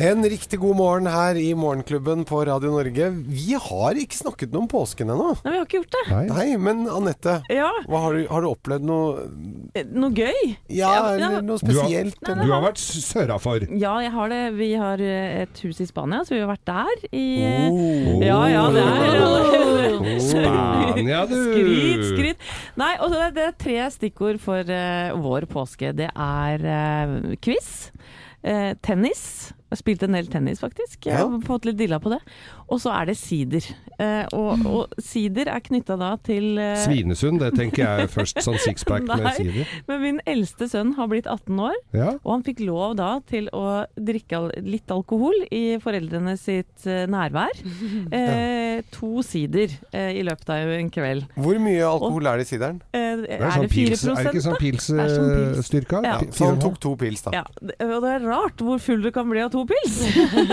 En riktig god morgen her i Morgenklubben på Radio Norge. Vi har ikke snakket noe om påsken ennå. Nei, vi har ikke gjort det. Nei. Nei, men Anette. Ja, Hva har, du, har du opplevd noe eh, Noe gøy? Ja, Ja, ja. eller noe Du har- spesielt? Du har vært sørafor. Ja, jeg har det. Vi har eh, et hus i Spania, så vi har vært der i eh, Oh. Ja, ja, det er Oh. Spania, du. Mm. Skryt, skryt. Nei, og det er, det er tre stikkord for eh, vår påske. Det er eh, quiz, eh, tennis Jeg har Spilt en del tennis, faktisk. Jeg har Ja. fått litt dilla på det. Og så er det sider. Eh, Mm. og, og sider er knytta da til eh, Svinesund, det tenker jeg først. Sånn sixpack med Nei. sider. Men min eldste sønn har blitt 18 år, Ja. og han fikk lov da til å drikke al- litt alkohol i foreldrene sitt eh, nærvær. Eh, to sider eh, i løpet av en kveld. Hvor mye alkohol er det i sideren? Eh, er, Det er, sånn det 4 pils, eh, er det ikke Det er sånn sånn pils. pilsstyrka? Ja. Sånn Så han tok to pils, da. Ja, det- og det er rart hvor full du kan bli av to pils.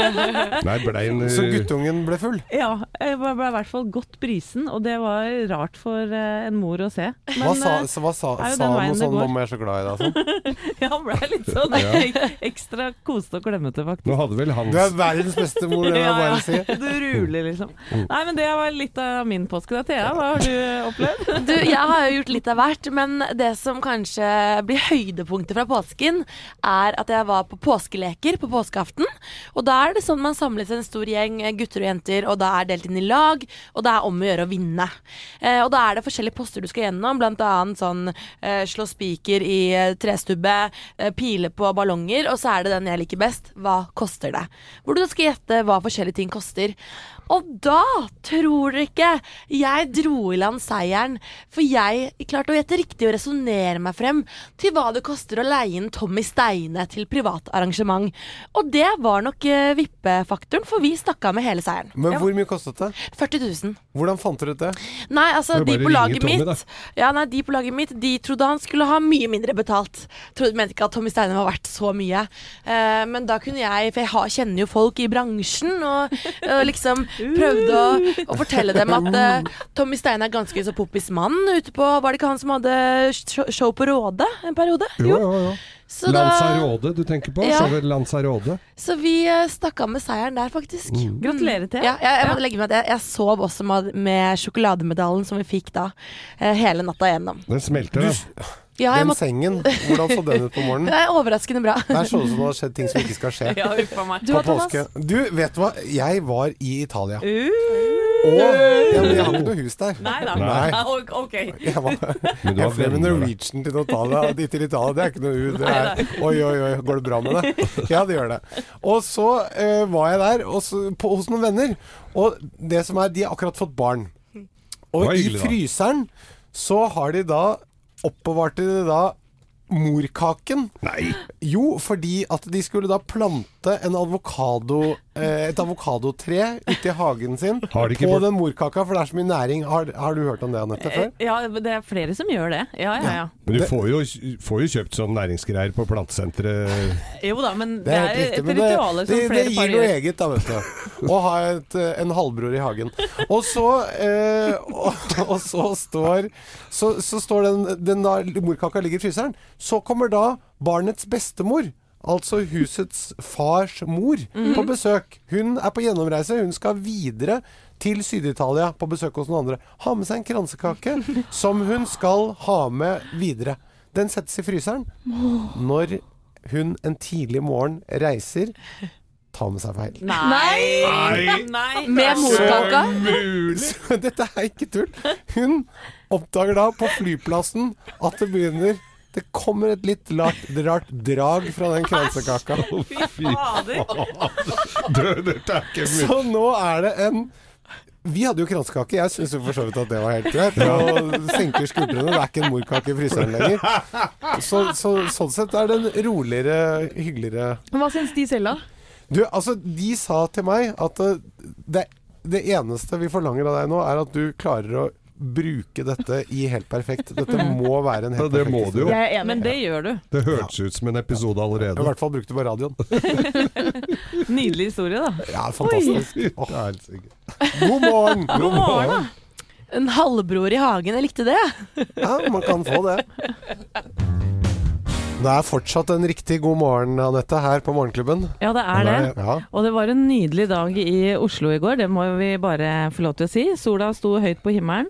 Nei, blein Så guttungen ble full? ja, jeg ble ble i hvert fall godt brisen, og det var rart for eh, en mor å se. Hva sa, eh, så hva sa, er jo sa den han veien noe det sånn går. 'mamma, jeg er så glad i deg' og sånn? ja, han ble litt sånn ek- ekstra kosete og klemmete, faktisk. Nå hadde vel Du er Hans verdens beste mor, det vil jeg Ja, ja. bare si. Du ruler, liksom. Nei, men det var litt av min påske. Da, Thea, hva har du eh, opplevd? Du, jeg har jo gjort litt av hvert, men det som kanskje blir høydepunktet fra påsken, er at jeg var på påskeleker på påskeaften. Og da er det sånn man samles en stor gjeng eh, gutter og jenter, og da er delt inn i lag, og det er om å gjøre å vinne. Eh, og da er det forskjellige poster du skal gjennom, blant annet sånn eh, slå spiker i eh, trestubbe, eh, pile på ballonger, og så er det den jeg liker best, hva koster det? Hvor du da skal gjette hva forskjellige ting koster. Og da, tror dere ikke, jeg dro i land seieren, for jeg klarte å gjette riktig og resonnere meg frem til hva det koster å leie inn Tommy Steine til privat arrangement. Og det var nok eh, vippefaktoren, for vi stakk av med hele seieren. Men hvor mye kostet det? 40 000. Hvordan fant dere ut det? Nei, altså, Det er de bare på å laget ringe Tommy, mitt Ja, nei, de på laget mitt De trodde han skulle ha mye mindre betalt. Trodde, mente ikke at Tommy Steine var verdt så mye. Eh, men da kunne jeg For jeg har, kjenner jo folk i bransjen, og, og liksom prøvde å, å fortelle dem at eh, Tommy Steine er ganske så poppis mann ute på Var det ikke han som hadde sh- show på Råde en periode? Jo, jo, jo. Så, da, Lanzarode du tenker på? Ja. Showet Lanzarode. så vi eh, stakk av med seieren der, faktisk. Mm. Gratulerer til. Ja, jeg, jeg måtte legge meg at jeg, jeg sov også med, med sjokolademedaljen som vi fikk da, eh, hele natta igjennom. Den smelter, da. Ja, jeg Den måtte, sengen, hvordan så den ut på morgenen? det er overraskende bra. Der så det ut som det hadde skjedd ting som ikke skal skje. Ja, uff a meg. Du På da, Thomas? påske. Du, vet du hva? Jeg var i Italia. Og Uh, ja, men jeg har ikke noe hus der. nei da. Nei. Ja, ok, ok. Jeg var Men du jeg har fløy med venner, da. Norwegian til Italia. Dit til Italia, det er ikke noe ut. Det er, oi, oi, oi, går det bra med det? Ja, det gjør det. Og så eh, var jeg der og så, på, hos noen venner, og det som er, de har akkurat fått barn. Det Og var i hyggelig, da. fryseren så har de da oppbevarte de da morkaken. Nei! Jo, fordi at de skulle da plante en avokado, eh, et avokadotre ute i hagen sin Har de ikke på bort- den morkaka, for det er så mye næring. Har, har du hørt om det, Anette, før? Ja, det er flere som gjør det. Ja, ja, ja. Men du får jo, får jo kjøpt sånn næringsgreier på plantesenteret. Jo da, men det Det er er, helt riktig. et Men det, ritual det, som det flere gir par noe gjør. eget, da, vet du. Å ha et, eh, en halvbror i hagen. Og så, eh, og, og så står Så, så står den, den da morkaka ligger i fryseren. Så kommer da barnets bestemor. Altså husets fars mor Mhm. på besøk. Hun er på gjennomreise. Hun skal videre til Syd-Italia på besøk hos noen andre. Ha med seg en kransekake som hun skal ha med videre. Den settes i fryseren når hun en tidlig morgen reiser, tar med seg feil. Nei! Med morkaka. Mulig! Så dette er ikke tull. Hun oppdager da på flyplassen at det begynner Det kommer et litt lart, rart drag fra den kransekaka. Fy faen. Du, Dette er ikke mulig. Så nå er det en vi hadde jo kransekake. Jeg syns for så vidt at det var helt greit. Og senker skuldrene. Det er ikke en morkake i fryseren lenger. Så, så, sånn sett er det en roligere, hyggeligere Men Hva syns de selv, da? Du, altså, de sa til meg at eh, det, det eneste vi forlanger av deg nå, er at du klarer å bruke dette i helt perfekt. Dette må være en helt Ja, det perfekt må det jo. historie. Jeg er Men enig. det gjør du. Det hørtes ut som en episode Jeg har i allerede. hvert fall brukt det på radioen. Nydelig historie, da. Ja, fantastisk. Det er helt sikkert. God morgen! God morgen. En halvbror i hagen. Jeg likte det. Ja, man kan få det. Det er fortsatt en riktig god morgen, Anette, her på Morgenklubben. Ja, det er det. Ja. Og det var en nydelig dag i Oslo i går, det må vi bare få lov til å si. Sola sto høyt på himmelen,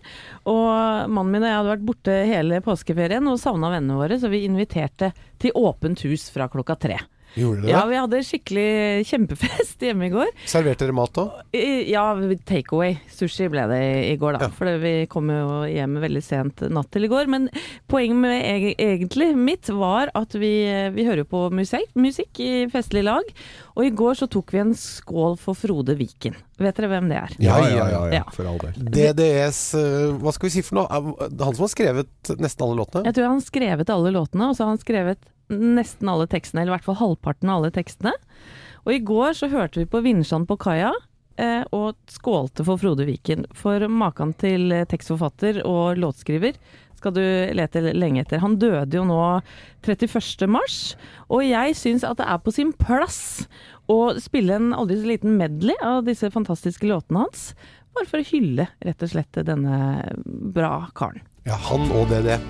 og mannen min og jeg hadde vært borte hele påskeferien og savna vennene våre, så vi inviterte til åpent hus fra klokka tre. Gjorde Ja, dere det? vi hadde skikkelig kjempefest hjemme i går. Serverte dere mat òg? I- Ja, takeaway. Sushi ble det i- i går, da. For vi kom jo hjem veldig sent natt til i går. Men poenget med eg- egentlig mitt var at vi, vi hører jo på musikk, musikk i festlig lag. Og i går så tok vi en skål for Frode Viken. Vet dere hvem det er? Ja, ja, ja, ja. Ja. For all del. DDS eh, Hva skal vi si for noe? Er det Han som har skrevet nesten alle låtene? Jeg tror han har skrevet alle låtene, og så har han skrevet nesten alle tekstene, eller i hvert fall halvparten av alle tekstene. Og i går så hørte vi på Vinsjan på kaia, eh, og skålte for Frode Viken. For maken til eh, tekstforfatter og låtskriver skal du lete lenge etter. Han døde jo nå 31. mars, og jeg syns at det er på sin plass å spille en aldri så liten medley av disse fantastiske låtene hans. Bare for å hylle rett og slett denne bra karen. Ja, han og E. DDS.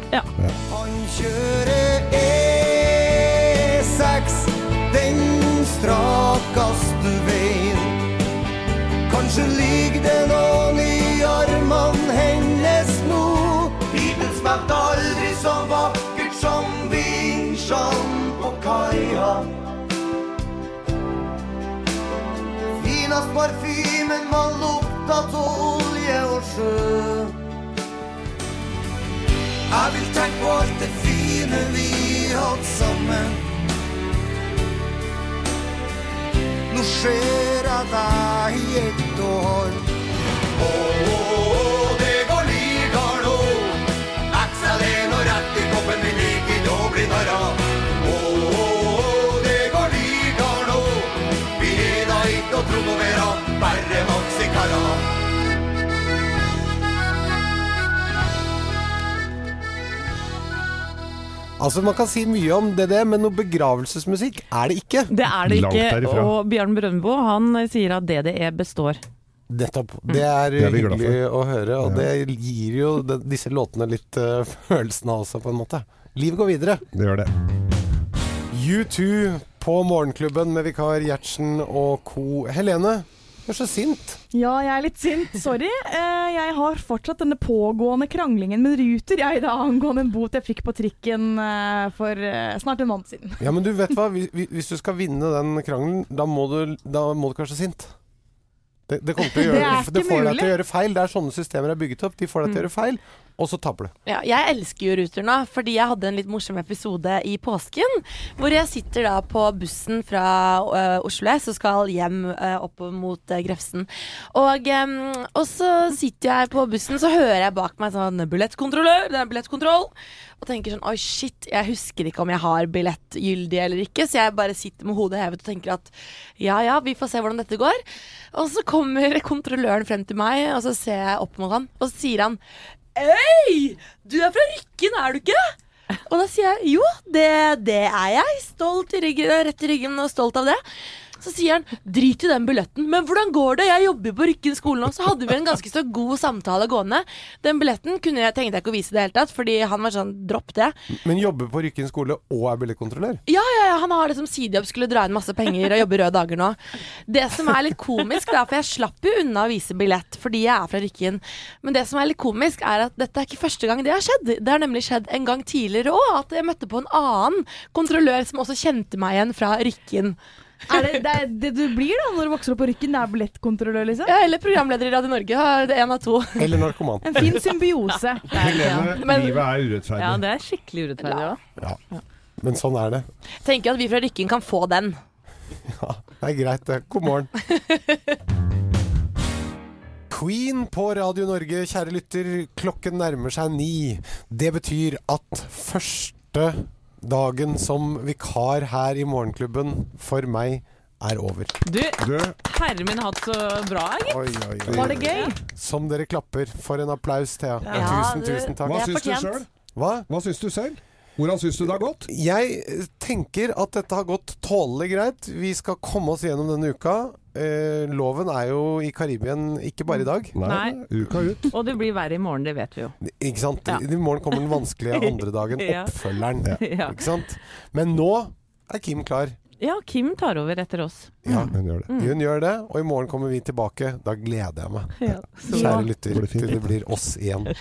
Han kjører E6 Den strakaste veien Kanskje ligger det noen i armene hennes nå Bilen smakte aldri så vakkert som vinsjan på kaia Finast parfymen var lukta til olje og sjø jeg vil tenke på alt det fine vi hadde sammen. Nå ser jeg deg i ett år. Å, å, å, det går ligar nå. XL1 og rett i koppen, vi liker ikke å bli narra. Å, å, å, det går ligar nå. Vi er da ikke å tro på vera, bare maxikarer. Altså Man kan si mye om DDE, men noe begravelsesmusikk er det ikke. Det er det Langt ikke. derifra. Og Bjørn Brøndbo han sier at DDE består. Nettopp. Det er, Det er vi glad for. hyggelig å høre, og det gir jo de, disse låtene litt eh, følelsen av også, på en måte. Livet går videre. Det gjør det. U2 på Morgenklubben med vikar Gjertsen og co. Helene, du er så sint. Ja, jeg er litt sint. Sorry. Eh, Jeg har fortsatt denne pågående kranglingen med Ruter jeg da angående en bot jeg fikk på trikken eh, for eh, snart en måned siden. Ja, men du vet hva, hvis, hvis du skal vinne den krangelen, da må du, da må du ikke være så sint. Det, det, kommer til å Det er gjøre, ikke det får deg mulig. Mm. til å gjøre feil. Det er sånne systemer er bygget opp. De får deg til å gjøre feil, og så taper du. Ja, jeg elsker jo Ruter nå, fordi jeg hadde en litt morsom episode i påsken. Hvor jeg sitter da på bussen fra øh, Oslo S og skal hjem øh, opp mot øh, Grefsen. Og, øhm, og så sitter jeg på bussen, så hører jeg bak meg sånn billettkontrollør, det er billettkontroll. Og tenker sånn oi, shit, jeg husker ikke om jeg har billett gyldig eller ikke. Så jeg bare sitter med hodet hevet og tenker at ja ja, vi får se hvordan dette går. Og så kommer kontrolløren frem til meg, og så ser jeg opp mot han, og så sier han Hei! Du er fra Rykken, er du ikke? Og da sier jeg jo, det, det er jeg. Stolt i ryggen, rett i ryggen og stolt av det. Så sier han drit i den billetten, men hvordan går det? Jeg jobber på Rykken skole nå. Så hadde vi en ganske så god samtale gående. Den billetten kunne jeg, tenkte jeg ikke å vise i det hele tatt, fordi han var sånn dropp det. Men jobber på Rykken skole og er billedkontrollør? Ja, ja, ja, han har det som sidejobb, skulle dra inn masse penger og jobbe røde dager nå. Det som er litt komisk, da, for jeg slapp jo unna å vise billett fordi jeg er fra Rykken, men det som er litt komisk, er at dette er ikke første gang det har skjedd. Det har nemlig skjedd en gang tidligere òg, at jeg møtte på en annen kontrollør som også kjente meg igjen fra Rykken. Er det, det, er det du blir da når du vokser opp på Rykken? Det er billettkontrollør, liksom? Ja, Eller programleder i Radio Norge, ja, det er én av to. Eller narkoman? En fin symbiose. Helene, Men- livet er urettferdig. Ja, det er skikkelig urettferdig òg. Men sånn er det. Tenker at vi fra Rykken kan få den. Ja, det er greit, det. God morgen. Queen på Radio Norge, kjære lytter. Klokken nærmer seg ni. Det betyr at første dagen som vikar her i Morgenklubben for meg er over. Du, Du, herre min hatt så bra, gitt. Oi, oi, oi. Var det gøy? Som dere klapper. For en applaus, Thea. Ja, tusen, du- tusen takk. hva Det er syns du fortjent. selv? Hva? Hva syns du selv? Hvordan syns du det har gått? Jeg eh, tenker at dette har gått tålelig greit. Vi skal komme oss gjennom denne uka. Eh, loven er jo i Karibien ikke bare i dag. Nei. Uka ut. Og det blir verre i morgen, det vet vi jo. Ikke sant? Ja. I morgen kommer den vanskelige andre dagen, Ja. oppfølgeren. Ja. Ikke sant? Men nå er Kim klar. ja, Kim tar over etter oss. Ja, Hun gjør det. Mm. Hun gjør det, og i morgen kommer vi tilbake. Da gleder jeg meg, Ja. Så, kjære lytter, Går det fint? til det blir oss igjen.